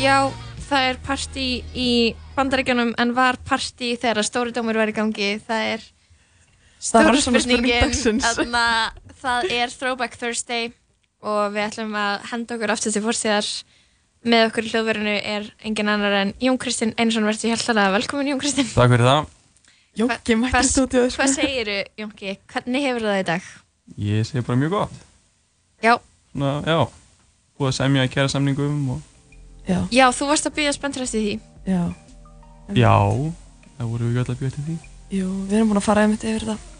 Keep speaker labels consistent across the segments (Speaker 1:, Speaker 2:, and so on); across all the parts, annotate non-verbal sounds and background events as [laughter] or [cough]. Speaker 1: Já, það er partí í bandaríkjunum en var partí þegar að stóri dómur var í gangi það er
Speaker 2: Það
Speaker 1: stóra
Speaker 2: var svona spurning
Speaker 1: spurningin
Speaker 2: dagsins.
Speaker 1: þannig að uh, það er Throwback Thursday og við ætlum að henda okkur aftur til fórstíðar með okkur í hljóðverðinu er engin annar en Jón Kristinn Einarsson verður hjaltalega velkomin Jón Kristinn
Speaker 3: Takk fyrir það.
Speaker 2: Jóki mætti sko.
Speaker 1: Hvers-
Speaker 2: stúdíu
Speaker 1: Hvað segiru Jónki, hvernig hefur það í dag?
Speaker 3: Ég segi bara mjög gott.
Speaker 1: Já,
Speaker 3: Svona, já, búið að semja í kæra samningum og...
Speaker 2: Já,
Speaker 1: já þú varst að byggja spenntur eftir því
Speaker 2: já,
Speaker 3: Já, það voru við ekki alltaf bjötið því.
Speaker 2: jú, við erum búin að fara einmitt yfir þetta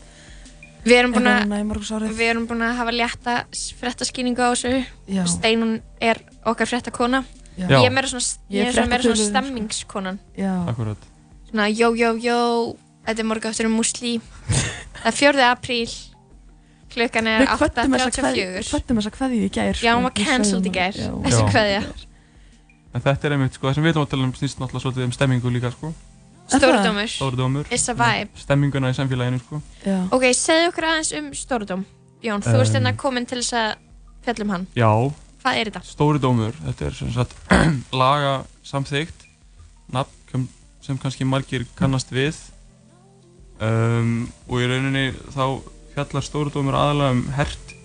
Speaker 1: Við erum búin að
Speaker 2: Núna í morgus árið
Speaker 1: Við erum búin að hafa létta frettaskýningu á þessu
Speaker 2: Já,
Speaker 1: Steinun er okkar frettakona
Speaker 2: já,
Speaker 3: Já.
Speaker 1: Ég er meira svona,
Speaker 2: Ég
Speaker 1: ég
Speaker 2: er
Speaker 1: er svona, meira svona
Speaker 2: fréttatöluður, sko.
Speaker 1: stemmingskonan
Speaker 2: já,
Speaker 3: Akkurat.
Speaker 1: Svona jó, jó, jó Þetta er morgaftur um musli Það er 4. apríl Klukkan er
Speaker 2: Við kvöttum þessa kveðju- við
Speaker 1: 8.34
Speaker 2: kvöttum þessa kveðju í gær
Speaker 1: Já,
Speaker 2: sko.
Speaker 1: hún var
Speaker 2: Við
Speaker 1: cancelled
Speaker 2: sögðum
Speaker 1: í gær,
Speaker 2: hana- já.
Speaker 1: þessi
Speaker 3: Já.
Speaker 1: kveðja
Speaker 3: En þetta er einmitt, sko, það sem við ætlum að tala um snýst náttúrulega svolítið um stemmingu líka, sko.
Speaker 2: Er það?
Speaker 1: Stórdómur,
Speaker 3: Stórdómur.
Speaker 1: it's a vibe
Speaker 3: Stemminguna í samfélaginu, sko.
Speaker 2: Já,
Speaker 1: Ok, segðu okkur aðeins um stórdóm Jón, þú ert
Speaker 3: Um.
Speaker 1: hérna komin til þess að fjallum hann
Speaker 3: Já,
Speaker 1: Hvað er þetta?
Speaker 3: Stórdómur, þetta er sem sagt [clears throat] laga samþygt, nafn sem, sem kannski margir kannast við. Um, og í rauninni þá fjallar Stórdómur aðalega um hert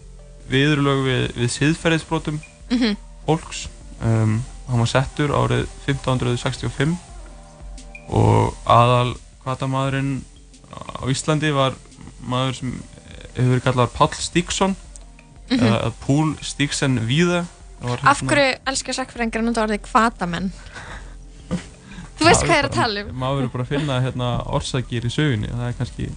Speaker 3: viðurlög við, við siðferðisbrotum
Speaker 2: Mhm,
Speaker 1: Mm
Speaker 3: fólks um, hann var settur árið 1565 og aðal kvatamæðurinn á Íslandi var maður sem hefur verið kallar Páll Stíksson eða Púl Stíksen Víða Það var
Speaker 1: Mhm. Af
Speaker 3: hérna-
Speaker 1: hverju elskar sakfræðingar að nota orðið hvatamenn? Þú veist hvað ég er að tala um
Speaker 3: maður er bara að finna hérna, orsakir í sögunni það er kannski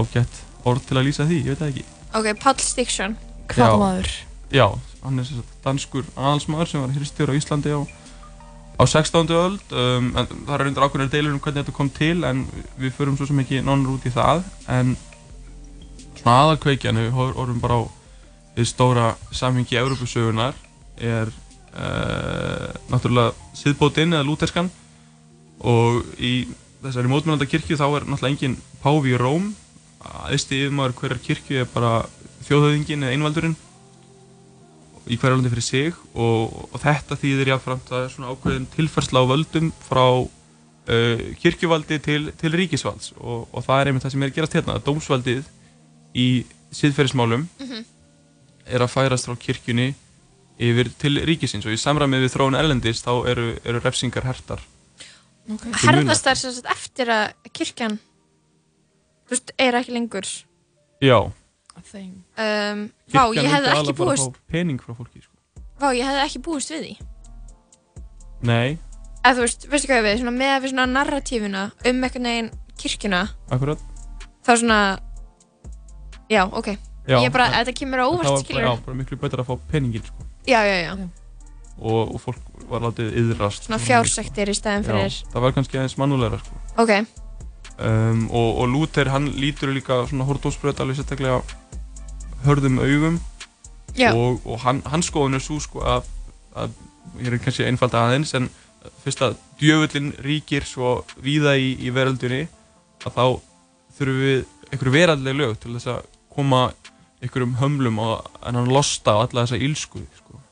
Speaker 3: ágætt orð til að lýsa því, ég veit það ekki
Speaker 1: Ok, Páll Stíksson
Speaker 2: hvað
Speaker 3: Já.
Speaker 2: maður
Speaker 3: Já, hann er sem sagt danskur aðalsmaður sem var hirstjóri á Íslandi á, á 16. öld um, en það er undir ákveðnar deilur um hvernig þetta kom til en við förum svo sem ekki nonur út í það en svona aðalkveikjan ef við horf- horfum bara á því stóra samhengi Evrópusögunar er uh, náttúrulega siðbótinn eða lúterskan og í þessari mótmennanda kirkju þá er náttúrulega engin páfi í Róm aðeins yfirmaður hverjar kirkju er bara þjóðhöðingin eða einvaldurinn í hverju landi fyrir sig og, og þetta þýðir jáfnframt að svona ákveðin tilfærsla á völdum frá uh, kirkjuvaldi til, til ríkisvalds og, og það er einmitt það sem er að gerast hérna að dómsvaldið í siðferðismálum
Speaker 1: Mhm.
Speaker 3: er að færast frá kirkjunni yfir til ríkisins og í samræmið við þróun erlendis þá eru, eru refsingar hertar Til muna.
Speaker 1: herðast þær sem sagt eftir að kirkjan þú veist, er ekki lengur
Speaker 3: Já,
Speaker 1: um, vá, ég hefði ekki búist
Speaker 3: pening frá fólki sko.
Speaker 1: vá, ég hefði ekki búist við því
Speaker 3: Nei,
Speaker 1: eða þú veist, veistu hvað ég við, svona með við svona narratífuna um einhvern veginn kirkjuna
Speaker 3: akkurat
Speaker 1: þá svona já, ok,
Speaker 3: já,
Speaker 1: ég bara,
Speaker 3: en-
Speaker 1: þetta kemur á
Speaker 3: en það
Speaker 1: óvart
Speaker 3: var bara, já,
Speaker 1: skilur,
Speaker 3: bara miklu betur að fá peningin sko.
Speaker 1: já, já, já
Speaker 3: og, og fólk var látið yðrast
Speaker 1: svona
Speaker 3: sko.
Speaker 1: fjársektir í stæðin fyrir,
Speaker 3: Já, það var kannski aðeins mannulegra sko.
Speaker 1: ok
Speaker 3: um, og, og Luther hann lítur líka svona hordósbröð alveg sérstaklega hörðum augum
Speaker 1: já,
Speaker 3: og, og hann, hans skoðun er svo sko að, að ég er kannski einfald aðeins en fyrst að djöfullin ríkir svo víða í, í veröldunni að þá þurfum við einhverju veraldleg lög til þess að koma einhverjum hömlum og en hann losta á alla þessa ílsku sko.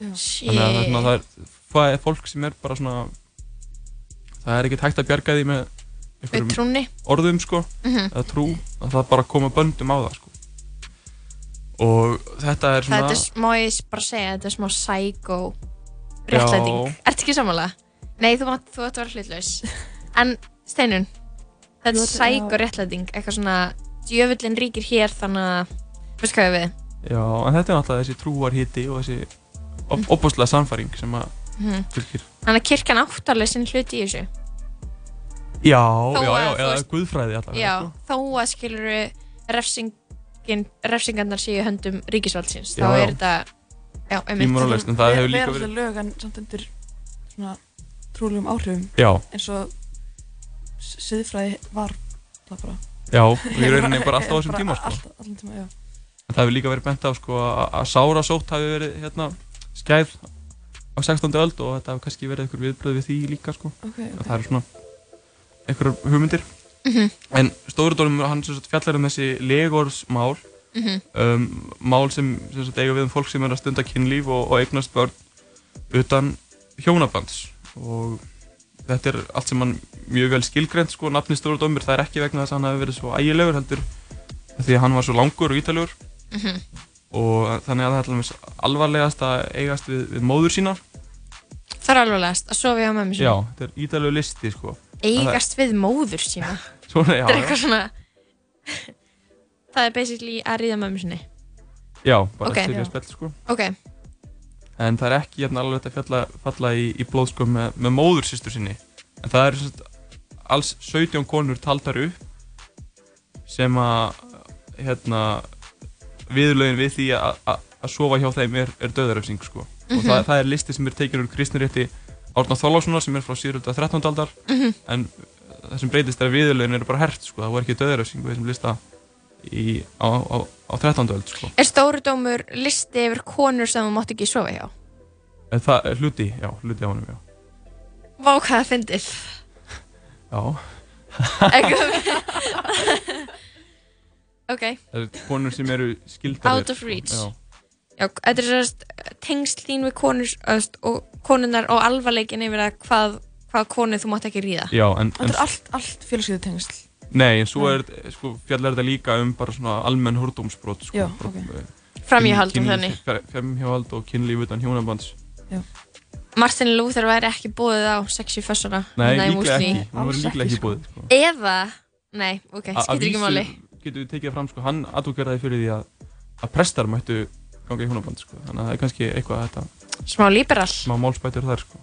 Speaker 3: þannig að
Speaker 1: shit
Speaker 3: þarna, það er það er fólk sem er bara svona það er ekkert hægt að bjarga því með
Speaker 1: við
Speaker 3: einhverjum
Speaker 1: trúnni
Speaker 3: orðum sko
Speaker 1: Mhm.
Speaker 3: eða trú, að það er bara að koma böndum á það sko og þetta er svona
Speaker 1: þetta er smá, ég bara segja, þetta er smá psycho réttlæting,
Speaker 3: Já.
Speaker 1: ertu ekki samanlega? Nei, þú átt þú átt að vera hlutlaus [laughs] en Steinun þetta er
Speaker 2: Ég ætla-
Speaker 1: psycho réttlæting, eitthvað svona djöfullin ríkir hér þannig að veist hvað ég við
Speaker 3: já, en þetta er náttúrulega þessi trúarhiti og þessi op
Speaker 1: Mm.
Speaker 3: opbúslega samfæring sem að
Speaker 1: Mhm.
Speaker 3: fylgir
Speaker 1: þannig að kirkjan áttarlega sinn hlut í þessu
Speaker 3: já,
Speaker 1: Þó
Speaker 3: já,
Speaker 1: að
Speaker 3: já,
Speaker 1: þú
Speaker 3: eða
Speaker 1: veist-
Speaker 3: guðfræði allavega
Speaker 1: já,
Speaker 3: sko.
Speaker 1: þó að skilur refsingin, refsingarnar séu í höndum ríkisvaldsins, þá
Speaker 3: Já, já.
Speaker 1: er þetta já, einmitt,
Speaker 3: Ímoralist, en það hefur líka
Speaker 2: verið
Speaker 3: verið
Speaker 2: lög en samt undir svona trúlegum áhrifum
Speaker 3: já,
Speaker 2: eins og s- siðfræði var það bara
Speaker 3: já, og í
Speaker 2: [laughs]
Speaker 3: rauninni bara alltaf á þessum
Speaker 2: Bara
Speaker 3: tíma sko.
Speaker 2: alltaf- allan tíma, já.
Speaker 3: En það hefur líka verið bent á sko að að sárasótt hafi verið hérna skæð á 16. öld og þetta hafi kannski verið einhver viðbröð við því líka sko.
Speaker 2: Ok,
Speaker 3: En
Speaker 2: ok.
Speaker 3: það eru svona einhverjar hugmyndir. En Stórudólmur hann sem sagt fjallar um þessi legorsmál,
Speaker 1: Mhm.
Speaker 3: um, mál sem, sem sagt eiga við um fólk sem er að stunda kynlíf og, og eignast börn utan hjónabands og þetta er allt sem hann mjög vel skilgrend sko, nafni Stóradómur, það er ekki vegna þess að hann hafi verið svo ægilegur heldur af því að hann var svo langur og ítalugur
Speaker 1: Mhm.
Speaker 3: og þannig að það er til dæmis alvarlegast að eigast við, við móður sínar
Speaker 1: Það er alveg last að sofa hjá mömmu
Speaker 3: Já,
Speaker 1: sinni.
Speaker 3: þetta er ítalegu listi sko
Speaker 1: Eigast við móður sína.
Speaker 3: Svona, já,
Speaker 1: Þetta er
Speaker 3: já,
Speaker 1: eitthvað svona... [laughs] það er basically að ríða mömmu sinni.
Speaker 3: já,
Speaker 1: Ok.
Speaker 3: bara okay,
Speaker 2: Já.
Speaker 3: sérlega spell sko
Speaker 1: Ok,
Speaker 3: en það er ekki jæfn alveg að fjalla, falla í, í blóð sko með, með móður sýstur sinni en það eru satt, alls 17 konur taldar upp sem að hérna viðlögin við því að- að að sofa hjá þeim er, er döðaröfsing sko og
Speaker 1: Mhm.
Speaker 3: það, það er listi sem er tekin úr kristnirétti Árna Þorlákssonar sem er frá 713. aldar en það sem breytist er að viðlögin eru bara hert sko, það voru ekki döðaröfsing við þessum lista í, á, á, á 13. öld sko
Speaker 1: er stórudómur listi yfir konur sem þú mátt ekki sofa hjá?
Speaker 3: en Eh, það er hluti, já, hluti á honum já,
Speaker 1: Vá hvað það [laughs] fyndið.
Speaker 3: já.
Speaker 1: Eitthvað- ok,
Speaker 3: Það eru konur sem eru skildar
Speaker 1: Out of reach. já, þetta er sérst tengsl þín við konur öst, og konunnar og alvarleikin yfir að hvað, hvað konu þú mátt ekki ríða.
Speaker 3: Já, já en,
Speaker 2: Þetta
Speaker 3: en,
Speaker 2: er allt, allt fjölskyldu tengsl.
Speaker 3: nei, en svo er sko, fjallar þetta líka um bara svona almenn hordómsbrot sko,
Speaker 2: Já,
Speaker 3: bara,
Speaker 2: ok.
Speaker 3: eh,
Speaker 1: Framhjáhald um
Speaker 3: kynlíf-
Speaker 1: þannig.
Speaker 3: fer- Framhjáhald og kynlíf utan hjónabands
Speaker 1: Martin Luther væri ekki búið á 65 ára.
Speaker 3: Nei,
Speaker 1: þarna í
Speaker 3: líklega
Speaker 1: Moseley.
Speaker 3: ekki, hún var
Speaker 2: Alls
Speaker 3: líklega
Speaker 2: ekki,
Speaker 3: ekki
Speaker 2: sko.
Speaker 3: búið sko.
Speaker 1: Eða, nei, ok,
Speaker 3: A- að
Speaker 1: skiptir ekki
Speaker 3: vísu
Speaker 1: máli
Speaker 3: Getum við tekið það fram, sko, hann aðtúkeraði fyrir því að, að prestar mættu ganga í hjónaband sko. Þannig að það er kannski eitthvað að þetta
Speaker 1: Smá líberal
Speaker 3: smá málspætur þar sko.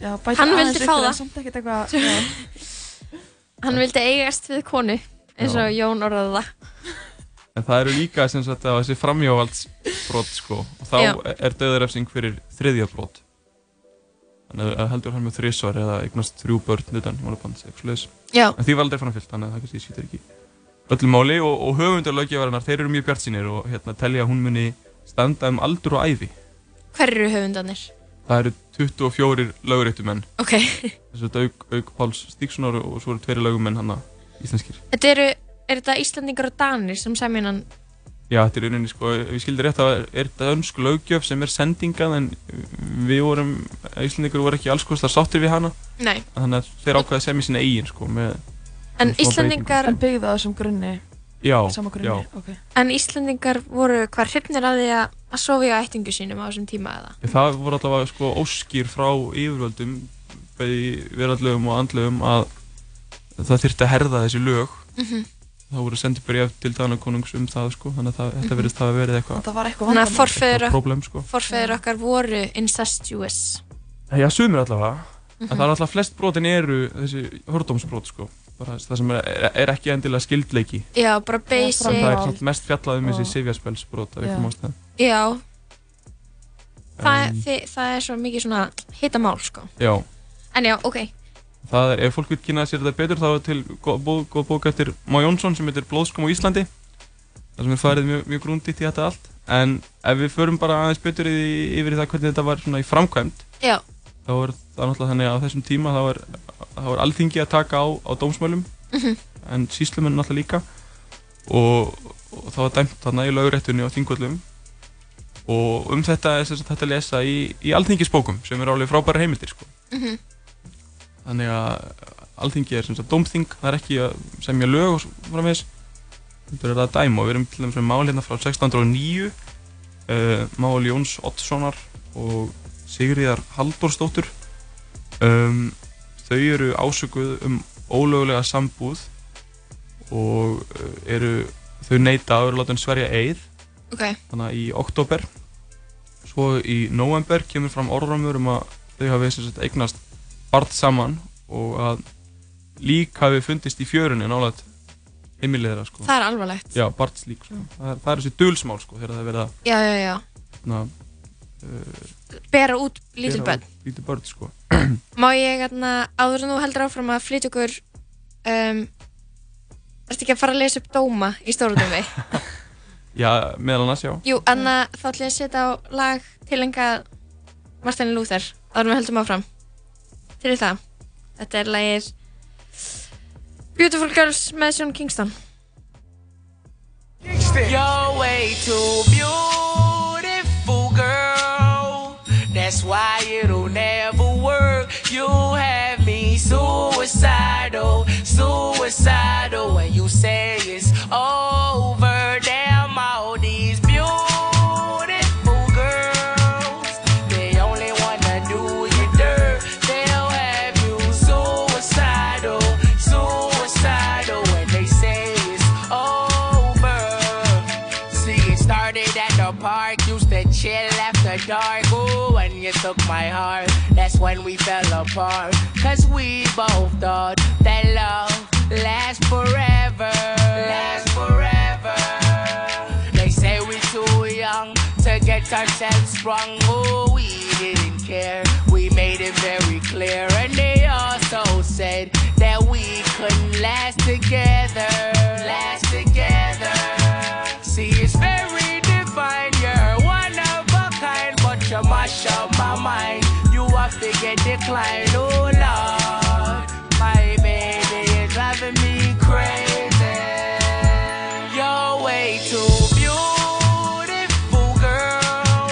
Speaker 2: Já, bæta
Speaker 1: Hann
Speaker 2: aðeins
Speaker 1: vildi
Speaker 2: upp
Speaker 1: fá það.
Speaker 2: fyrir en Samt ekkert eitthvað, já.
Speaker 1: Hann vildi eigast við konu eins og Jón orðaði það
Speaker 3: En það eru líka sem sagt að þessi framhjáhaldsbrot sko og þá
Speaker 1: Já.
Speaker 3: er döðarefsing fyrir þriðja brot. Þannig að heldur hann með þrísvar eða eignast þrjú börn utan hjónabands eitthvað slags.
Speaker 1: Já,
Speaker 3: En því var aldrei framfyllt þannig að það kannski skýtir ekki öllu máli og, og höfundar löggjafarinnar þeir eru mjög bjartsýnir og hérna telja að hún muni standa um aldur og ævi.
Speaker 1: hver eru höfundanir?
Speaker 3: Það eru 24 löguréttumenn
Speaker 1: Ok,
Speaker 3: þess að auk, auk Páls Stíkssonar og svo eru tveiri lögumenn hann íslenskir.
Speaker 1: þetta eru, er þetta Íslandingar og Danir sem sæminan
Speaker 3: Já, þetta er í rauninni, sko, ef ég skildi rétt, það er- er þetta önsk löggjöf sem er sendingað en við vorum, Íslandingur voru ekki alls kostar sáttir við hana,
Speaker 1: Nei,
Speaker 3: þannig að þeir ákveða að semja sína eigin, sko, með,
Speaker 1: en
Speaker 3: Smá
Speaker 1: Íslandingar
Speaker 2: En byggði það á þessum grunni,
Speaker 3: já,
Speaker 2: sama grunni,
Speaker 3: já,
Speaker 2: ok.
Speaker 1: en Íslandingar voru hvar hrifnir að því að að sofi á ættingu sínum á þessum tíma eða
Speaker 3: það voru allavega, sko, óskir frá yfirvöldum, bæði veraldlegum og andlegum að það þyrfti að herða þessi lög,
Speaker 1: Mhm.
Speaker 3: það voru sendið byrjaf til danakonungs um það, sko, þannig að það, þetta verðist hafa verið eitthvað,
Speaker 2: Það var eitthvað
Speaker 1: Þannig að
Speaker 2: vandamál.
Speaker 1: forfeður,
Speaker 3: eitthvað problem, sko.
Speaker 1: forfeður okkar voru incestuous
Speaker 3: Já, sumir allavega En það er alltaf flest brotin eru þessi hordómsbrot sko bara þess- það sem er, er- er ekki endilega skildleiki
Speaker 1: Já, bara
Speaker 3: en
Speaker 1: basic
Speaker 3: það er
Speaker 2: Já.
Speaker 3: samt mest fjallað um þessi
Speaker 2: Og-
Speaker 3: sifjarspelsbrot af
Speaker 2: Já.
Speaker 3: einhverjum ástæðum
Speaker 1: Já, það,
Speaker 3: En,
Speaker 1: þi, það er svo mikið svona hitamál sko
Speaker 3: Já,
Speaker 1: En já, ok,
Speaker 3: það er, ef fólk vil kynna sér þetta betur þá er til góð, góð, góð bók eftir Má Jónsson sem heitir Blóðskum á Íslandi það sem er farið mjög, mjög grúndið í þetta allt en ef við förum bara aðeins betur í, yfir í það hvernig þetta var svona í framkvæmd
Speaker 1: já,
Speaker 3: þá er það náttúrulega þannig að á þessum tíma þá er, þá er alþingi að taka á, á dómsmálum en síslumenn náttúrulega líka og, og það var dæmt þarna í löguréttunni á þingvöllum og um þetta er sem sagt hægt að lesa í, í alþingisbókum sem eru alveg frábæra heimildir sko.
Speaker 1: mhm
Speaker 3: þannig að alþingi er sem sagt dómþing það er ekki að semja lög og svo framvegis þetta er það að dæma og við erum til dæmis með mál hérna frá 1609 uh, mál Jóns Oddssonar og Sigriðar Halldórsdóttur um, þau eru ásökuð um ólögulega sambúð og uh, eru þau neita að vera látin sverja eið
Speaker 1: Ok,
Speaker 3: þannig að í oktober svo í november kemur fram orðramur um að þau hafi sem sagt eignast barð saman og að lík hafi fundist í fjörunni nálaðt heimilið þeirra sko.
Speaker 1: það er alvarlegt
Speaker 3: já, barðslík sko. það, er, það er þessi dulsmál sko, þegar það er verið að
Speaker 1: Já, já, já,
Speaker 3: na, uh,
Speaker 1: bera út lítil börn
Speaker 3: lítil börn sko.
Speaker 1: Má ég hérna, áður en þú heldur áfram að flytja okkur um, Ertu ekki að fara að lesa upp dóma í stóradómi?
Speaker 3: já, meðal annars já
Speaker 1: Jú, Anna, þá ætlum ég að setja á lag tilengað Martin Luther áður en við höldum áfram Til það, þetta er lagið Beautiful Girls með Sean Kingston
Speaker 4: You're way too beautiful, girl. That's why lie, it'll never work. You have me suicidal, suicidal. When you say it's over, damn all these beautiful girls. They only wanna do you dirt. They'll have you suicidal, suicidal. When they say it's over. See, it started at the park, used to chill after dark. Ooh, when you took my heart, that's when we fell apart. Cause we both thought that love lasts forever. Lasts forever. They say we too young to get ourselves sprung. Ooh, we didn't care. We made it very clear. And they also said that we couldn't last together. Last together. See, it's very divine. You're one of a kind, but you mash up my mind. You have to get declined, oh Lord. My baby is driving me crazy. You're way too beautiful, girl.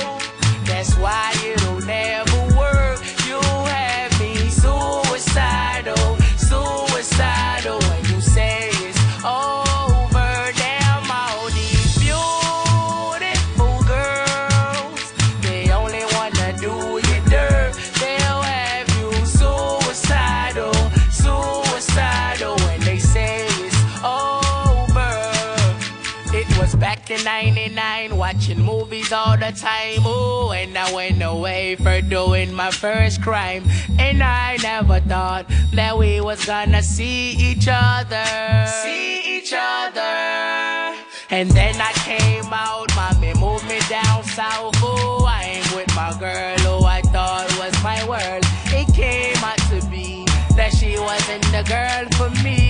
Speaker 4: That's why it'll never work. You have me suicidal, suicidal. When you say it's over, damn all these beautiful girls. They only wanna do you dirt. They'll have you suicidal, suicidal. When they say it's over. It was back in 99, watching movies all the time. Ooh, and I went away for doing my first crime. And I never thought that we was gonna see each other. See each other. And then I came out, mommy moved me down south. Ooh, I ain't with my girl who I thought was my world. It came out to be that she wasn't the girl for me.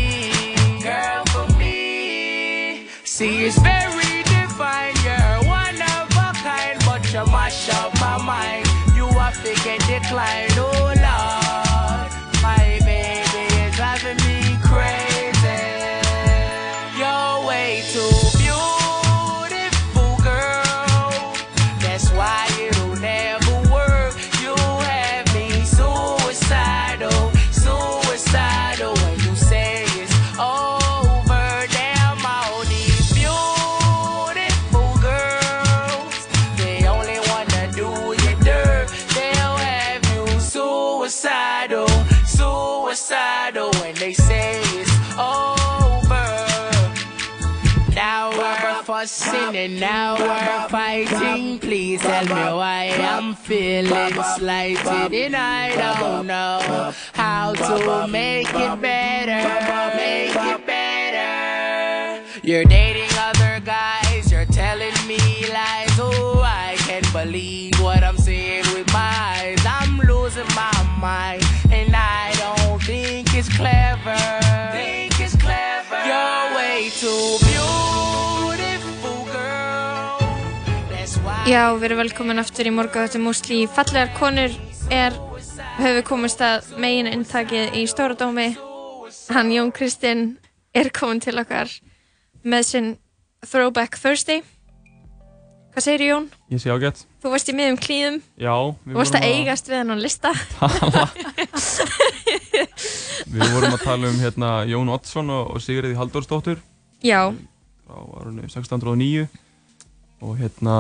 Speaker 4: Girl for me. See, it's very divine. You're one of a kind, but you mash up my mind. You have to get declined, oh Lord. My baby is driving me crazy. You're way too beautiful, girl. That's why it'll never work. You have me suicidal, suicidal. When you say it's over, damn all these beautiful girls. They only wanna do you dirt. They'll have you suicidal, suicidal. When they say it's over. Now we're fussing and now we're fighting. Please tell me why I'm feeling slighted and I don't know how to make it better. Make it better. You're dating other guys, you're telling me lies. Oh, I can't believe what I'm seeing with my eyes. I'm losing my mind and I don't think it's clever. Think it's clever. You're way too beautiful, girl. That's why.
Speaker 1: Já, við erum velkomin aftur í morgu þetta músli í fallegar konur er, höfum komist að megin inntakið í Stóra Dómi hann Jón Kristinn er komin til okkar með sinn Throwback Thursday Hvað segir Jón?
Speaker 3: Ég sé ágætt.
Speaker 1: Þú varst í miðum klíðum
Speaker 3: Já, við
Speaker 1: Þú varst að
Speaker 3: vorum
Speaker 1: eigast við hann á lista
Speaker 3: Við vorum að tala um hérna Jón Oddsson og, og Sigriði Halldórsdóttur
Speaker 1: Já,
Speaker 3: frá árunni 1609 og hérna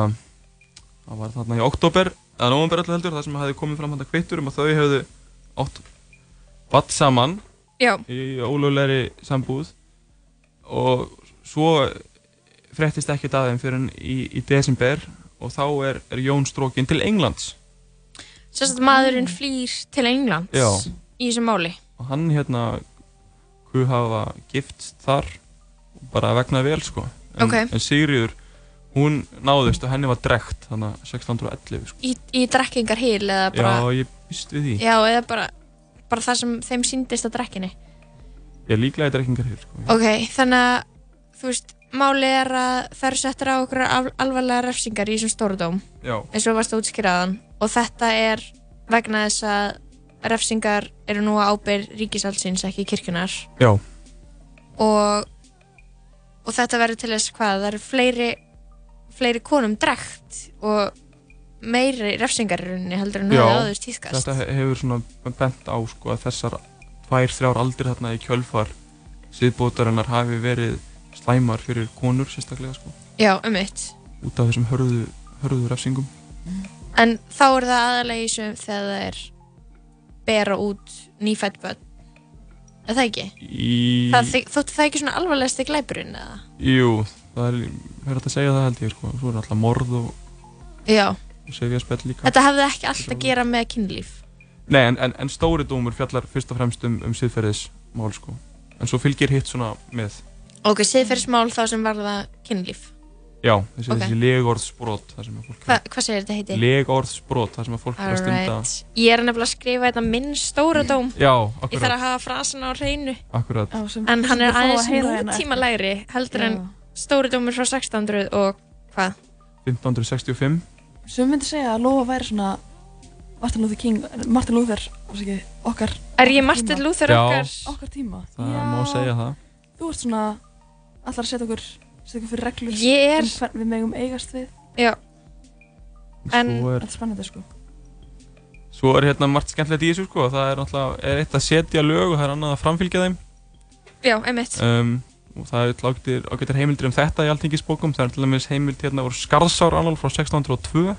Speaker 3: það var þarna í oktober eða november alltaf heldur, það sem hefði komið fram þetta kvittur um að þau hefðu átt batt saman
Speaker 1: já,
Speaker 3: í ólöglegri sambúð og svo fréttist ekkert að þeim fyrir en í, í desember og þá er, er Jón strókin til Englands
Speaker 1: sérst að maðurinn flýr til Englands
Speaker 3: Mm. Já.
Speaker 1: í þessu máli
Speaker 3: og hann hérna hvað hafa giftst þar bara vegna vel sko en,
Speaker 1: Ok.
Speaker 3: en Sigriður hún náðist og henni var drekt þannig að 1611 sko.
Speaker 1: í, í drekkingar hil eða bara
Speaker 3: já ég býst við því
Speaker 1: já, eða bara, bara það sem þeim síndist að drekkinni
Speaker 3: ég er líklega í drekkingar hér sko.
Speaker 1: Ok, þannig að þú veist, málið er að það eru settur á okkur al- alvarlega refsingar í þessum stórdóm
Speaker 3: já,
Speaker 1: eins og varst að útskýraðan og þetta er vegna þess að refsingar eru nú að ábyrð ríkisaldsins ekki kirkjunar
Speaker 3: já,
Speaker 1: og, og þetta verður til þess hvað það eru fleiri, fleiri konum drekt og meiri refsingar í rauninni heldur en
Speaker 3: Já,
Speaker 1: hafði áður tískast
Speaker 3: Þetta he- hefur svona bent á sko að þessar tvær, þrjár aldir þarna í kjölfar siðbótarinnar hafi verið slæmar fyrir konur sérstaklega sko
Speaker 1: Já, um eitt
Speaker 3: út af þessum hörðu, hörðu refsingum
Speaker 1: En þá er það aðalega í sum þegar það er bera út nýfætt börn Er það ekki?
Speaker 3: í...
Speaker 1: Það, þy- þótti það ekki svona alvarlegasti glæpurinn eða?
Speaker 3: Jú, það er, er hægt að segja það held ég sko Svo er alltaf morð og,
Speaker 1: Já,
Speaker 3: og sefjaspell líka
Speaker 1: þetta hafði ekki allt að gera með kynlíf
Speaker 3: Nei, en, en, en stóri dómur fjallar fyrst og fremst um, um siðferðismál sko En svo fylgir hitt svona með
Speaker 1: Ok, siðferðismál þá sem varða kynlíf
Speaker 3: Já, þessi,
Speaker 1: Ok.
Speaker 3: þessi legorðsbrot Það sem að fólk
Speaker 1: Hva, Hvað segir þetta heiti?
Speaker 3: Legorðsbrot, það sem að fólk er að stunda
Speaker 1: Alright, ég er nefnilega að skrifa þetta minn stóra dóm Ég
Speaker 3: Já,
Speaker 1: þarf
Speaker 3: akkurat,
Speaker 1: að hafa frasan á hreinu
Speaker 3: akkurat
Speaker 2: Já, sem-
Speaker 1: En hann
Speaker 2: sem
Speaker 1: er
Speaker 2: þau fá að
Speaker 1: aðeins
Speaker 2: heyra hérna eftir.
Speaker 1: nútímalegri heldur en
Speaker 2: Já.
Speaker 1: stóri dómur frá 1600 og hvað?
Speaker 3: 1565
Speaker 2: Sem myndi segja að Lóa væri svona Martin Luther King, Martin Luther, ásaki, okkar,
Speaker 1: Er ég Martin Luther
Speaker 3: Já.
Speaker 1: okkar?
Speaker 2: okkar tíma.
Speaker 3: Það má segja það
Speaker 2: Þú ert svona, allar að setja okkur, setja okkur fyrir reglur.
Speaker 1: Ég er,
Speaker 2: Um hvern við megum eigast við.
Speaker 1: já, En-
Speaker 3: svo, er,
Speaker 2: Þetta er spennandi sko.
Speaker 3: svo er hérna margt skemmtilegt í þessu sko Það er náttúrulega, er eitt að setja lög og það er annað að framfylgja þeim
Speaker 1: já, einmitt
Speaker 3: um, og það er ágættir, ágættir heimildir um þetta í alltingisbókum, það er til dæmis heimild hérna voru Skarðsárannál frá 1602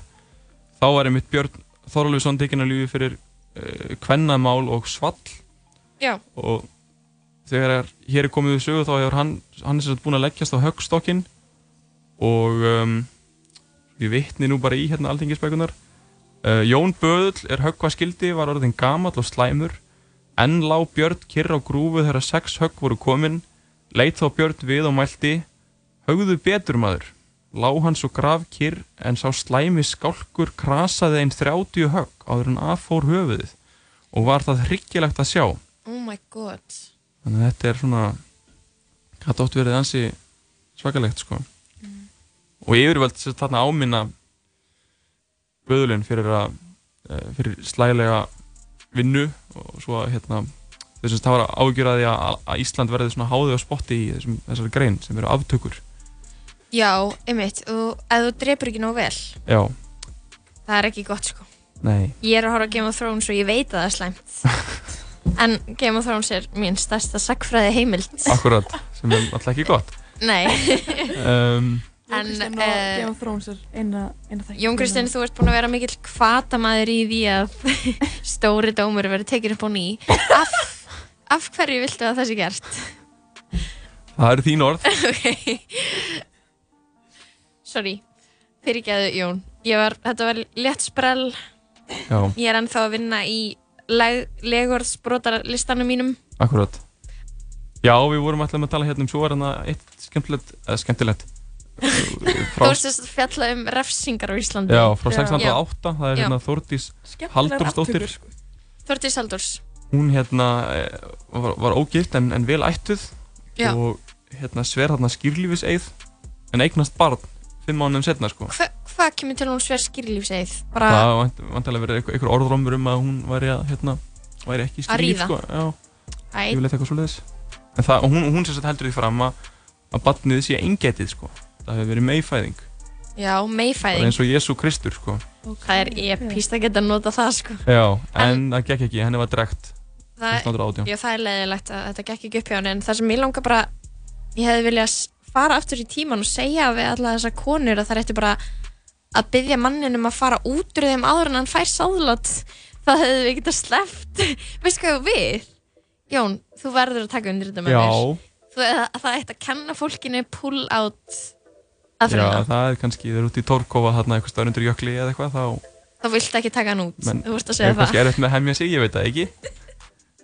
Speaker 3: þá var einmitt Björn Þorlufsson tekinn að lífi fyrir uh, kvennamál og svall
Speaker 1: Já.
Speaker 3: og þegar er, hér er komið við sögu þá hefur hann, hann er sem sagt búin að leggjast á höggstokkin og um, ég vitni nú bara í hérna alltingisbækunar uh, Jón Böðull er höggva skildi var orðin gamall og slæmur enn lá Björn kyrr á grúfu þegar sex högg voru komin Leit þá Björn við og mælti Högðu betur maður Lá hann svo graf kyrr en sá slæmi skálkur krasaði einn 30 högg áður en affór höfuðið og var það hryggilegt að sjá
Speaker 1: Oh my god
Speaker 3: þannig að þetta er svona þetta átt verið ansi svakalegt sko og yfirvöld sem sagt þarna áminna böðulinn fyrir að eh, fyrir slælega vinnu og svo að hérna þess að það var ágjur að því að, að Ísland verði svona háðið á spotti í þessum, þessari grein sem eru aftökur
Speaker 1: Já, einmitt, og ef þú drepur ekki nóg vel
Speaker 3: já,
Speaker 1: Það er ekki gott sko
Speaker 3: nei,
Speaker 1: Ég er að horfa á Game of Thrones og ég veit að það er slæmt En Game of Thrones er mín stærsta sagfræði heimild
Speaker 3: akkurat sem er alltaf ekki [laughs] gott
Speaker 1: Nei,
Speaker 3: um,
Speaker 1: En,
Speaker 2: Jón Kristinn og
Speaker 1: eh,
Speaker 2: Game of Thrones er eina, eina þekkt.
Speaker 1: Jón Kristinn, þú ert búin að vera mikill kvatamæður í því að [laughs] stóri dómur verið tekið upp á ný af, af hverju viltu að það sé gert?
Speaker 3: það eru þín orð
Speaker 1: ok Sorry, fyrirgæðu Jón Ég var, þetta var létt sprell
Speaker 3: já,
Speaker 1: Ég er ennþá að vinna í legorðsbrotarlistanum mínum
Speaker 3: akkurat já, við vorum alltaf að tala hérna um svo er hérna eitt skemmtilegt eða
Speaker 1: [laughs]
Speaker 3: skemmtilegt eh,
Speaker 1: Þú
Speaker 3: frá,
Speaker 1: ert sem sagt að fjalla um refsingar á Íslandi
Speaker 3: já, frá
Speaker 2: Já.
Speaker 3: 608 það er
Speaker 1: Já.
Speaker 3: hérna Þórdís
Speaker 2: Skemmtilegar
Speaker 3: Halldórsdóttir.
Speaker 2: aftökur, sko.
Speaker 1: Þortís Halldórs
Speaker 3: hún hérna eh, var, var ógift en, en vel ættuð
Speaker 1: Já.
Speaker 3: og hérna sver þarna skýrlífiseið en eignast barn fimm mánum setna sko
Speaker 1: Hva, Hvað kemur til að hún sver skýrlífseið? Bara,
Speaker 3: það vant, vantilega verið einhver, einhver orðrómur um að hún væri að hérna væri ekki
Speaker 1: Að
Speaker 3: skýrlíf
Speaker 1: ríða.
Speaker 3: sko já,
Speaker 1: æ,
Speaker 3: yfirleitt eitthvað svoleiðis en það, og hún, hún sem sagt heldur því fram að, að barnið sé engetið sko það hefur verið meifæðing
Speaker 1: já,
Speaker 3: bara
Speaker 1: meifæðing
Speaker 3: eins og Jésu Kristur sko
Speaker 1: Það er epist að geta nota það sko
Speaker 3: já, en það gekk ekki, henni var um drekt
Speaker 1: það,
Speaker 3: 1918
Speaker 1: já, það er leiðilegt að þetta gekk ekki upp hjá henni En það sem ég langar bara Ég hefði viljað s- fara aftur í tíman og segja við alla þessar konur að það ætti bara að byggja manninum að fara út úr þeim áður en hann fær sáðlát það hefði við getað sleppt [laughs] Veistu hvað við? Jón, þú verður að taka undir þetta með
Speaker 3: já,
Speaker 1: mér þú, að, að það ætti að kenna fólkinu pull out
Speaker 3: já,
Speaker 1: aðferðina
Speaker 3: það er kannski, þeir eru út í Torkova þarna eitthvað stöður undir jökli eða eitthvað þá
Speaker 1: þá viltu ekki taka hann út
Speaker 3: Men-
Speaker 1: þú vorst að
Speaker 3: er
Speaker 1: segja það
Speaker 3: kannski erfitt með að hemja sig, ég veit það ekki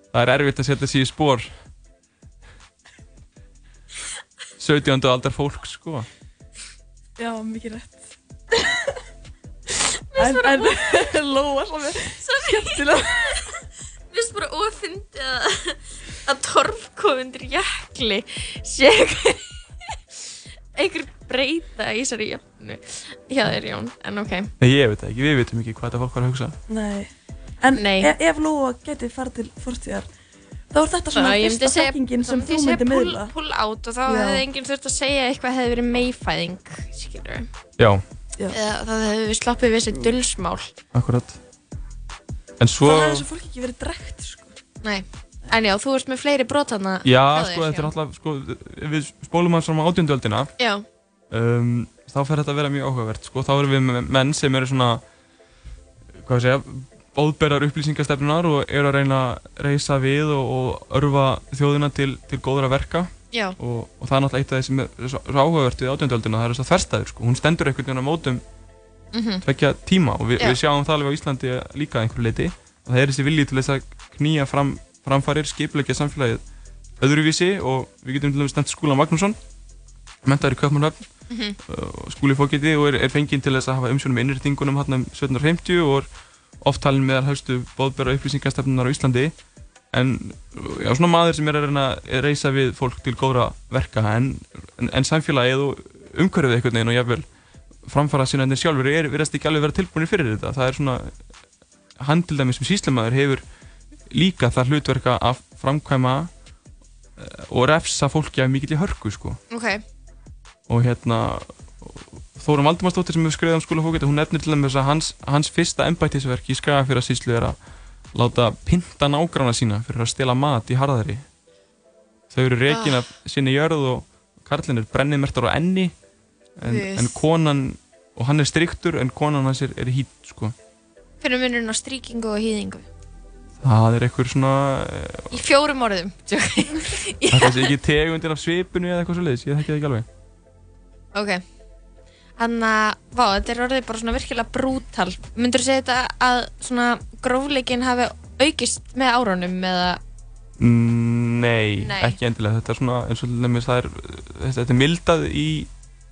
Speaker 3: það er erfitt að setja sig í spór 17. aldar fólk sko
Speaker 2: Já, mikið
Speaker 1: [laughs]
Speaker 2: rétt. en, en, [laughs] Lóa sem er
Speaker 1: [laughs]
Speaker 2: skemmtilega.
Speaker 1: Mér finnst bara ofindi að, að torfkofundir jakli sé einhver- einhver breyta í þessari jöfnu hjá þér Jón, en ok
Speaker 3: Nei, ég veit það ekki, við veitum ekki hvað þetta fólk var að hugsa
Speaker 2: Nei. En
Speaker 1: Nei.
Speaker 2: E ef Lóa geti farið til fortíðar, þá er þetta svona
Speaker 1: Svo ég myndi
Speaker 2: fyrsta
Speaker 1: segja-
Speaker 2: þekkingin sem
Speaker 1: Þá
Speaker 2: þú
Speaker 1: ég segja
Speaker 2: myndi
Speaker 1: pull,
Speaker 2: miðla.
Speaker 1: pull out og þá
Speaker 2: Já.
Speaker 1: hefði enginn þurft að segja eitthvað hefði verið meifæðing skilur
Speaker 3: já,
Speaker 2: Já.
Speaker 1: eða það hefur við sloppið við þessi dulsmál
Speaker 3: akkurat En svo,
Speaker 2: Það hefur þessu fólki ekki verið drekt, sko.
Speaker 1: Nei, en já, þú ert með fleiri brotana
Speaker 3: já,
Speaker 1: þér,
Speaker 3: sko, þetta
Speaker 1: já.
Speaker 3: er alltaf, sko, ef við spólum hans fram á átjöndöldina
Speaker 1: Já,
Speaker 3: um, þá fer þetta að vera mjög áhugavert, sko, þá erum við með menn sem eru svona, hvað ég segja, óðberðar upplýsingastefnunar og eru að reyna að reysa við og, og örfa þjóðina til, til góðra verka
Speaker 1: já,
Speaker 3: og, og það er náttúrulega eitt af því sem er svo, svo áhugavert við átjöndöldina, það er þess að þverstaður, sko, hún stendur einhvern veginn á mótum
Speaker 1: mhm,
Speaker 3: tvekja tíma og við,
Speaker 1: Já.
Speaker 3: við sjáum það alveg á Íslandi líka að einhverju leiti og það er þessi vilji til þess að knýja fram, framfarir, skipleggja samfélagið öðruvísi og við getum til dæmis nefnt Skúla Magnússon mentaður í Kaupmannhöfn
Speaker 1: mhm,
Speaker 3: og skúli fókiti og er, er fenginn til þess að hafa umsjónum innrýtingunum hann um 1750 og er oft talin meðal höfstu bóðbera upplýsingastefnunar á Íslandi en já, svona maður sem er að reyna að reysa við fólk til góðra verka en, en, en samfélagið og umhverfið einhvern veginn og jafnvel framfara sinna en þeir sjálfur er verðast ekki alveg vera tilbúinir fyrir þetta það er svona hann til dæmis sem síslemaður hefur líka það hlutverka að framkvæma eh, og refsa fólki af mikill í hörku sko
Speaker 1: ok
Speaker 3: og hérna Þóra Valdimarsdóttir sem hefur skriðið um skólafókita hún nefnir til dæmis að hans, hans fyrsta embættisverk í Skagafjara síslu er að láta pinta nágrána sína fyrir að stela mat í harðari þau eru rekin af sinni jörð og karlinn er brennið mertar á enni en,
Speaker 1: Guð.
Speaker 3: en konan og hann er striktur en konan hans er, er hýtt sko.
Speaker 1: Fyrir munurinn á stríkingu og hýðingu
Speaker 3: það er eitthvað svona eh,
Speaker 1: Í fjórum orðum Tjók.
Speaker 3: það er kannski ekki tegundin af svipinu eða eitthvað svo leiðis, ég þekki það ekki alveg
Speaker 1: Ok Þannig að, vá, þetta er orðið bara svona virkilega brútal Myndur þú segja þetta að svona grófleikin hafi aukist með árunum eða
Speaker 3: Nei,
Speaker 1: Nei.
Speaker 3: ekki endilega þetta er svona eins og til dæmis það er þetta, þetta er mildað í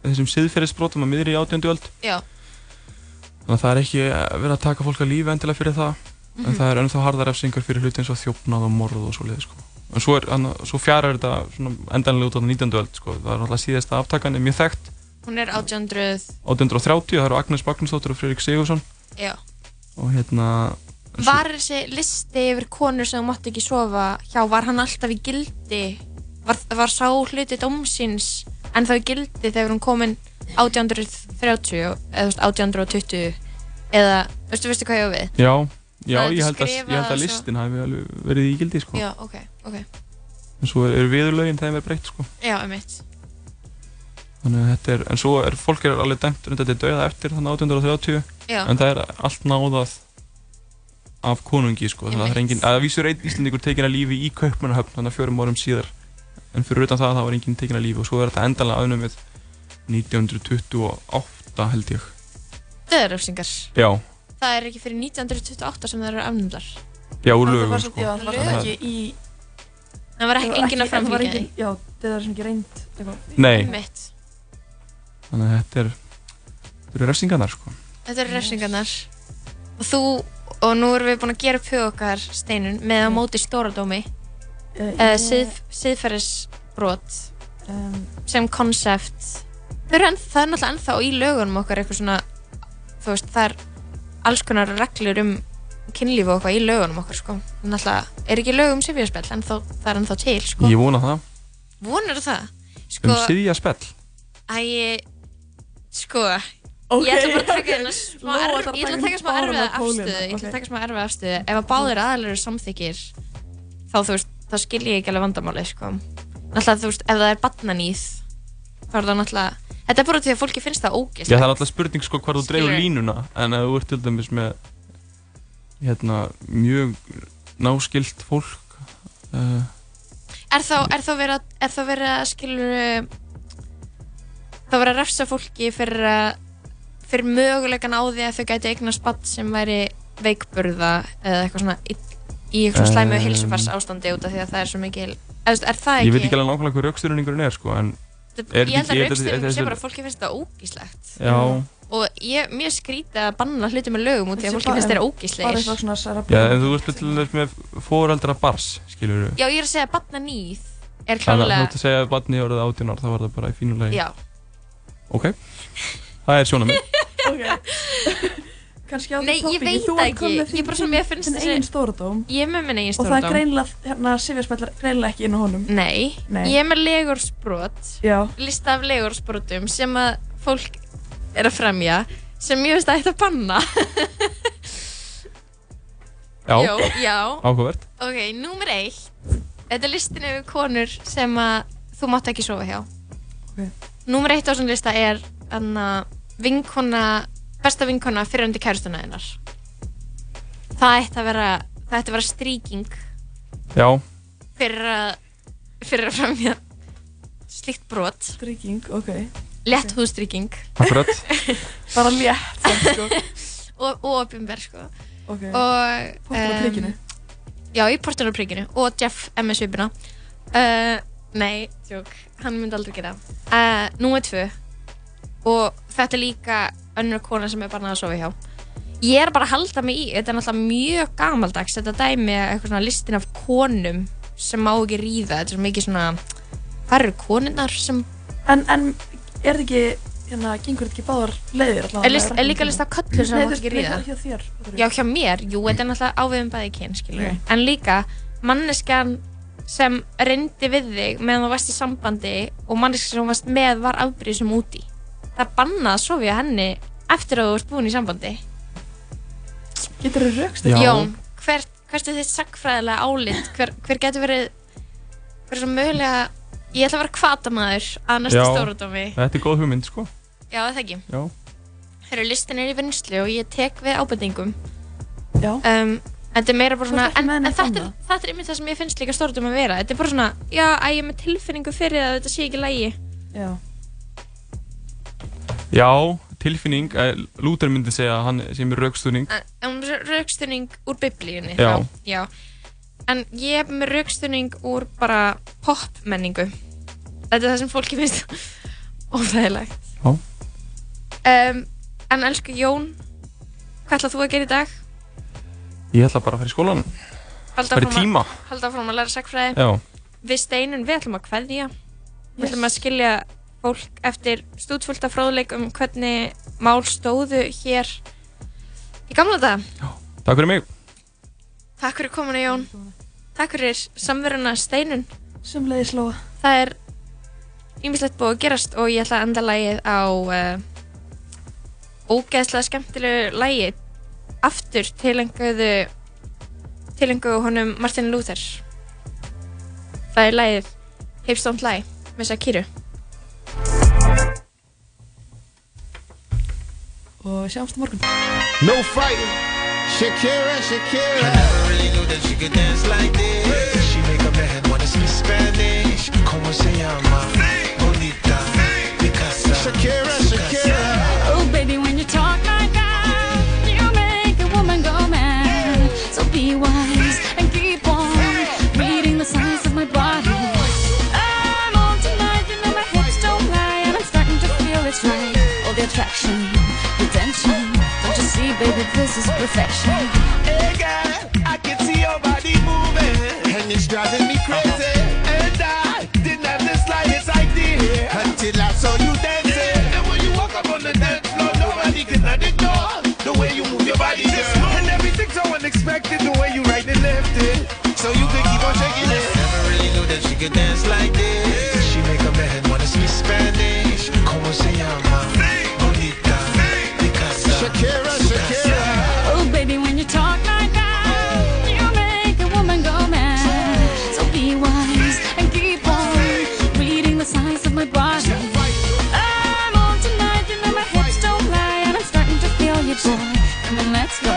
Speaker 3: þessum siðferðisbrotum að miðri í átjöndu öld
Speaker 1: Já,
Speaker 3: þannig að það er ekki verið að taka fólk að lífi endilega fyrir það
Speaker 1: Mhm.
Speaker 3: en það er ennþá harðar efsingar fyrir hluti eins og þjófnað og morð og svo leiði sko en svo, er, hann, svo fjarar þetta svona endanlega út á 19. öld sko það er alltaf síðasta aftakan er mjög þekkt
Speaker 1: hún er 1800
Speaker 3: 1830 það eru Agnes Magnúsdóttir og Fredrik Sigursson
Speaker 1: Já
Speaker 3: og hérna en svo-
Speaker 1: Var þessi listi yfir konur sem þú mátt ekki sofa hjá, var hann alltaf í gildi? Var, var sá hluti dómsins en þá í gildi þegar hún komin 1830 eða þú veist, 1820 eða, veistu, veistu hvað ég á við?
Speaker 3: já, já
Speaker 1: Það er
Speaker 3: ég held að, ég
Speaker 1: skrifað
Speaker 3: held að
Speaker 1: svo-
Speaker 3: listin hafi alveg verið í gildi sko
Speaker 1: Já, ok, ok,
Speaker 3: en svo eru er viðurlögin þeim er breytt sko
Speaker 1: já, emitt
Speaker 3: Þannig að þetta er, en svo er, fólk er alveg dæmt reyndar til dauða eftir þannig 1830
Speaker 1: Já,
Speaker 3: en það er allt náðað af konungi sko þannig að það er engin, að vísur einn íslendingur tekin að lífi í Kaupmannahöfn þannig að fjórum árum síðar en fyrir utan það þá var engin tekin að lífi og svo er þetta endanlega afnumið 1928 held ég
Speaker 1: döðaröfsingar
Speaker 3: Já,
Speaker 1: Það er ekki fyrir 1928 sem það eru afnumdar
Speaker 3: já úr
Speaker 2: Það var
Speaker 3: lögum
Speaker 2: svo-
Speaker 3: sko
Speaker 2: Já, það var
Speaker 1: Lögum.
Speaker 2: svo ekki í...
Speaker 1: Það var ekki engin að
Speaker 2: það var
Speaker 1: framfylgja því
Speaker 2: engin- Já, það er sem ekki reynd eitthvað.
Speaker 3: Nei,
Speaker 1: Einmitt.
Speaker 3: þannig að þetta er þetta eru refsingarnar sko
Speaker 1: Þetta eru refsingarnar Og þú, og nú erum við búin að gera upp hug okkar steinun með að móti stóradómi
Speaker 2: Ég-
Speaker 1: eða
Speaker 2: Eh, ég-
Speaker 1: síð, síðferðisbrot
Speaker 2: em,
Speaker 1: sem konsept það, er enn- það er náttúrulega ennþá í lögunum okkar eitthvað svona þú veist, það er alls konar reglur um kynlíf og eitthvað í lögunum okkar sko. náttúrulega, er ekki lög um sifjarspell en þó, það er ennþá til sko.
Speaker 3: Ég vona það,
Speaker 1: vonar það
Speaker 3: um
Speaker 1: sko,
Speaker 3: síðja spell
Speaker 1: Æ, sko,
Speaker 2: Ok.
Speaker 1: ég ætla bara að taka hérna smá,
Speaker 2: Lóa
Speaker 1: erf,
Speaker 2: þarf að
Speaker 1: ég ætla að
Speaker 2: taka
Speaker 1: taka smá
Speaker 2: hérna
Speaker 1: erfiða
Speaker 2: báðum pólina,
Speaker 1: afstöðu, ég ætla
Speaker 2: ok.
Speaker 1: að taka smá erfiða afstöðu. Ef að báðir aðalur samþykir, þá þú veist, þá skil ég ekki alveg vandamálið, sko. Náttúrulega, þú veist, ef það er barnaníð, þá er það náttúrulega, þetta er bara því að fólki finnst það ógist.
Speaker 3: Já, það er alltaf spurning sko hvar þú dreifur
Speaker 1: Skilurðu?
Speaker 3: línuna en að þú ert til dæmis með hérna, mjög náskilt fólk uh,
Speaker 1: Er þá, er þá verið að, er þá verið að skilur, þá verið að refsa fólki fyrir að, fyrir mögulegan á því að þau gæti eignast spatt sem væri veikburða eða eitthvað svona í, í eitthvað slæmu
Speaker 3: Um,
Speaker 1: um, heilsufars ástandi út af því að það er svo mikil, eða þú veist, er það ekki?
Speaker 3: ég veit ekki alveg nákvæmlega hver raukstyrningurinn er sko en
Speaker 1: alveg, ég
Speaker 3: er
Speaker 1: held
Speaker 3: ekki-
Speaker 1: að
Speaker 3: ég held að þetta-
Speaker 1: raukstuðum
Speaker 3: þetta-
Speaker 1: sé bara að fólki finnst það ógíslegt
Speaker 3: já,
Speaker 1: og ég, mér skrítið að banna hluti með lögum út af því að
Speaker 2: Þetta sé
Speaker 1: fólki
Speaker 2: bara-
Speaker 1: finnst þeirra
Speaker 2: Bara
Speaker 1: ógíslegir.
Speaker 2: eitthvað svona
Speaker 3: já
Speaker 2: cerebral-
Speaker 3: en þú ert til dæmis með foreldra bars skilur við
Speaker 1: Já, ég er að segja að banna nýð er
Speaker 3: þannig að þú
Speaker 1: klálega,
Speaker 3: ert að segja að barni orðið 18 ár þá var það bara í fínulegi
Speaker 1: já,
Speaker 3: ok, það er sjónum
Speaker 2: Ok. Kannski á því
Speaker 1: Nei, ég
Speaker 2: toppingi,
Speaker 1: veit
Speaker 2: þú
Speaker 1: það
Speaker 2: ert komin
Speaker 1: ekki.
Speaker 2: með þín-
Speaker 1: Ég bara svona- mér finnst
Speaker 2: þinn
Speaker 1: þessi-
Speaker 2: eigin stórdóm
Speaker 1: ég er með minn eigin
Speaker 2: og það er
Speaker 1: stórdóm.
Speaker 2: greinilega, hérna, sifjarspellar greinilega ekki inn á honum.
Speaker 1: Nei,
Speaker 2: Nei.
Speaker 1: ég er með legursbrot
Speaker 2: Já,
Speaker 1: lista af legursbrotum sem að fólk er að fremja sem ég veist að ætti að banna
Speaker 3: Já,
Speaker 1: [laughs] Jó, já,
Speaker 3: áhugavert
Speaker 1: ok, númer eitt Þetta er listin yfir konur sem að þú mátt ekki sofa hjá
Speaker 2: Ok.
Speaker 1: Númer eitt á þessum lista er anna, vinkona, besta vinkona fyrrandi kærustuna hennar Það ætti að vera það ætti að vera stríking
Speaker 3: Já,
Speaker 1: fyrir að fyrir að fremja slíkt brot
Speaker 2: Stryking, ok.
Speaker 1: lett húðstrykking
Speaker 3: akkurat
Speaker 2: Bara létt, samt,
Speaker 1: [laughs]
Speaker 2: sko.
Speaker 1: og, og opinber sko
Speaker 2: Ok.
Speaker 1: og
Speaker 2: Póttur á
Speaker 1: em,
Speaker 2: prikinu.
Speaker 1: já, í portinu á prikinu og Jeff MS Vipina uh, nei, tjók, hann myndi aldrei gera uh, nú er tvö og þetta er líka önnur kona sem er barnað að sofa hjá ég er bara að halda mig í, þetta er náttúrulega mjög gamaldags, þetta dæmi að eitthvað svona listin af konum sem má ekki ríða, þetta er svo mikið svona hvað eru konunnar sem
Speaker 2: En, en, er þetta ekki, hérna, gengur þetta ekki báðar leiðir allavega?
Speaker 1: er, list, er líka list af köllum sem
Speaker 2: Nei,
Speaker 1: má
Speaker 2: þú-
Speaker 1: ekki
Speaker 2: nei,
Speaker 1: ríða
Speaker 2: hjá- hjá þér. Patrik.
Speaker 1: Já, hjá mér, jú, þetta er náttúrulega áviðum bæði kyn, skilur
Speaker 2: Já.
Speaker 1: En líka, manneskjan sem reyndi við þig meðan þú varst í sambandi og manneskjan sem þú varst með var afbrýðisum úti. Það er bannað að sofja henni eftir að þú varst búin í sambandi.
Speaker 2: Getur þú raukst
Speaker 3: Já.
Speaker 1: Jón, hvert, hvert er þitt sagfræðilega álit? Hver, hver getur verið, hver er svo mögulega, ég ætla að vera kvatamæður að næsta
Speaker 3: Já.
Speaker 1: stóradómi.
Speaker 3: Þetta er góð hugmynd, sko
Speaker 1: Já, það ekki.
Speaker 3: Já,
Speaker 1: Herru, listin er í vinslu og ég tek við ábendingum.
Speaker 2: Já.
Speaker 1: um, þetta er meira bara
Speaker 2: Þú
Speaker 1: svona
Speaker 2: ert ekki
Speaker 1: en,
Speaker 2: með
Speaker 1: en
Speaker 2: neitt
Speaker 1: þetta, er,
Speaker 2: annað?
Speaker 1: þetta er einmitt það sem ég finnst líka stórt um að vera þetta er bara svona, já, að ég er með tilfinningu fyrir að þetta sé ekki lægi
Speaker 2: Já.
Speaker 3: já tilfinning, eh, Luther myndi segja að hann sé með raukstuðning
Speaker 1: en en raukstunning úr biblíunni
Speaker 3: Já.
Speaker 1: þá, já. en ég er með raukstunning úr bara popmenningu þetta er það sem fólki finnst [laughs] óþægilegt
Speaker 3: Já.
Speaker 1: um, en elsku Jón hvað ætlað þú að gera í dag?
Speaker 3: Ég ætla bara að fara í skólan,
Speaker 1: Halda
Speaker 3: fara í
Speaker 1: áfram að-
Speaker 3: tíma
Speaker 1: halda áfram að læra sagfræði
Speaker 3: Já,
Speaker 1: við steinun, við ætlum að kveðja við ætlum að skilja fólk eftir stútfullt af fróðleik um hvernig mál stóðu hér í gamla dag
Speaker 3: takk fyrir mig
Speaker 1: takk fyrir komuna Jón takk fyrir samveruna steinun
Speaker 2: Sem leiði slóa.
Speaker 1: það er ýmislegt búið að gerast og ég ætla að enda lagið á uh, ógeðslega skemmtilegu lagi aftur tilenguðu tilenguðu honum Martin Luther það er lagið Hips Don't Lie með Sakiru
Speaker 2: Og sjáumst á morgun.
Speaker 5: No fighting. Shakira, Shakira.
Speaker 6: never really knew that she could dance like this. She make a man wanna speak Spanish. Como se llama? Bonita. Picasa.
Speaker 5: Shakira, Shakira.
Speaker 7: Oh, baby, when you talk like that, you make a woman go mad. So be wise and keep on reading the signs of my body. I'm on tonight, you know my hips don't lie, and I'm starting to feel it's right. All the attraction, the tension. Don't you see, baby, this is perfection.
Speaker 6: Hey girl, I can see your body moving.
Speaker 5: And it's driving me crazy
Speaker 6: And I didn't have the slightest idea.
Speaker 5: until I saw you dancing.
Speaker 6: And when you walk up on the dance floor, nobody can ignore the way you move your body, girl. And everything's so unexpected, the way you right and left it. So you can keep on shaking it. Never really knew that she could dance like this. She make a man wanna speak Spanish. Como se llama? Bonita. Picasa.
Speaker 5: Shakira, Shakira.
Speaker 7: Oh, baby, when you talk like that, you make a woman go mad. So be wise and keep on reading the signs of my body. I'm on tonight, you know my hips don't lie, and I'm starting to feel you, boy. Come on, let's go,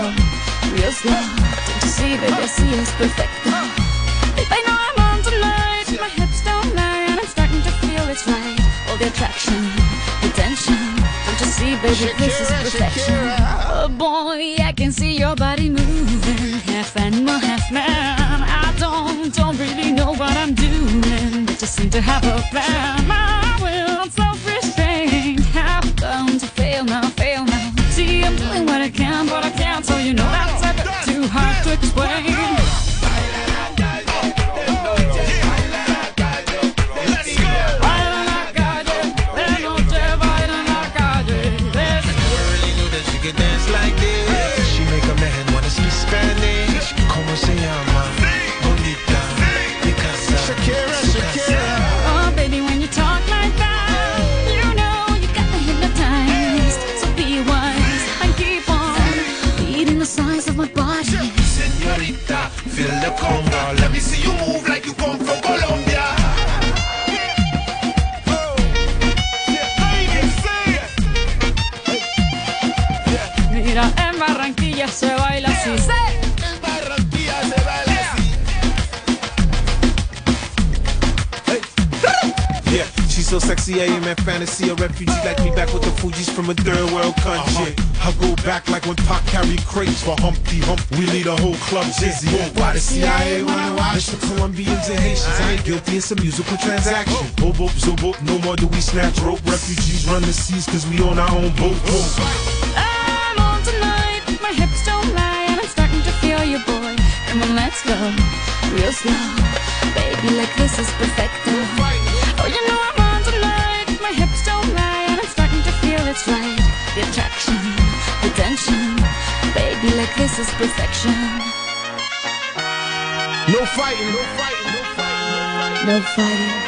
Speaker 7: real slow. Don't you see, baby, I see it's perfect. Babe, I know I'm on tonight, my hips don't lie, and I'm starting to feel it's right. All the attraction, the tension. Don't you see, baby, this is
Speaker 5: Shakira,
Speaker 7: perfection. Oh boy, I can see your body moving. Half animal, half man. I don't, don't really know what I'm doing. But just seem to have a plan. My will, I'm self-restrained. Have come to fail now, fail now. See, I'm doing what I can, but I can't. So you know that's a bit too hard to explain. Baila la calle, de noche baila la calle. There's a
Speaker 6: Never really knew that she could dance like this. She make a man wanna speak Spanish. Como se llama? Bonita. Picasa.
Speaker 5: Shakira, Shakira.
Speaker 7: Oh, baby, when you talk like that, you know you got me hypnotized.
Speaker 6: Feel the conga. Let me see you move like you come from Colombia.
Speaker 7: Mira, en Barranquilla se baila así.
Speaker 6: En Barranquilla se baila así.
Speaker 5: Yeah, she's so sexy, I am a fantasy. A refugee like me back with the Fuji's from a third world country. I go back like when Pac carried crates for Humpty Hump. We lead a whole club dizzy. Why the CIA wanna watch the Colombians and Haitians? I ain't guilty, it's a musical transaction. Oh, boop, zo, boop, no more do we snatch rope. Refugees run the seas cause we on our own boat.
Speaker 7: I'm on tonight, my hips don't lie, and I'm starting to feel you, boy. Come on, let's go, real slow, baby, like this is perfecto. Oh, you know I'm on tonight, my hips don't lie, and I'm starting to feel it's right. The attraction, the tension, baby, like this is perfection.
Speaker 5: No fighting, no fighting, no fighting.
Speaker 7: No fighting,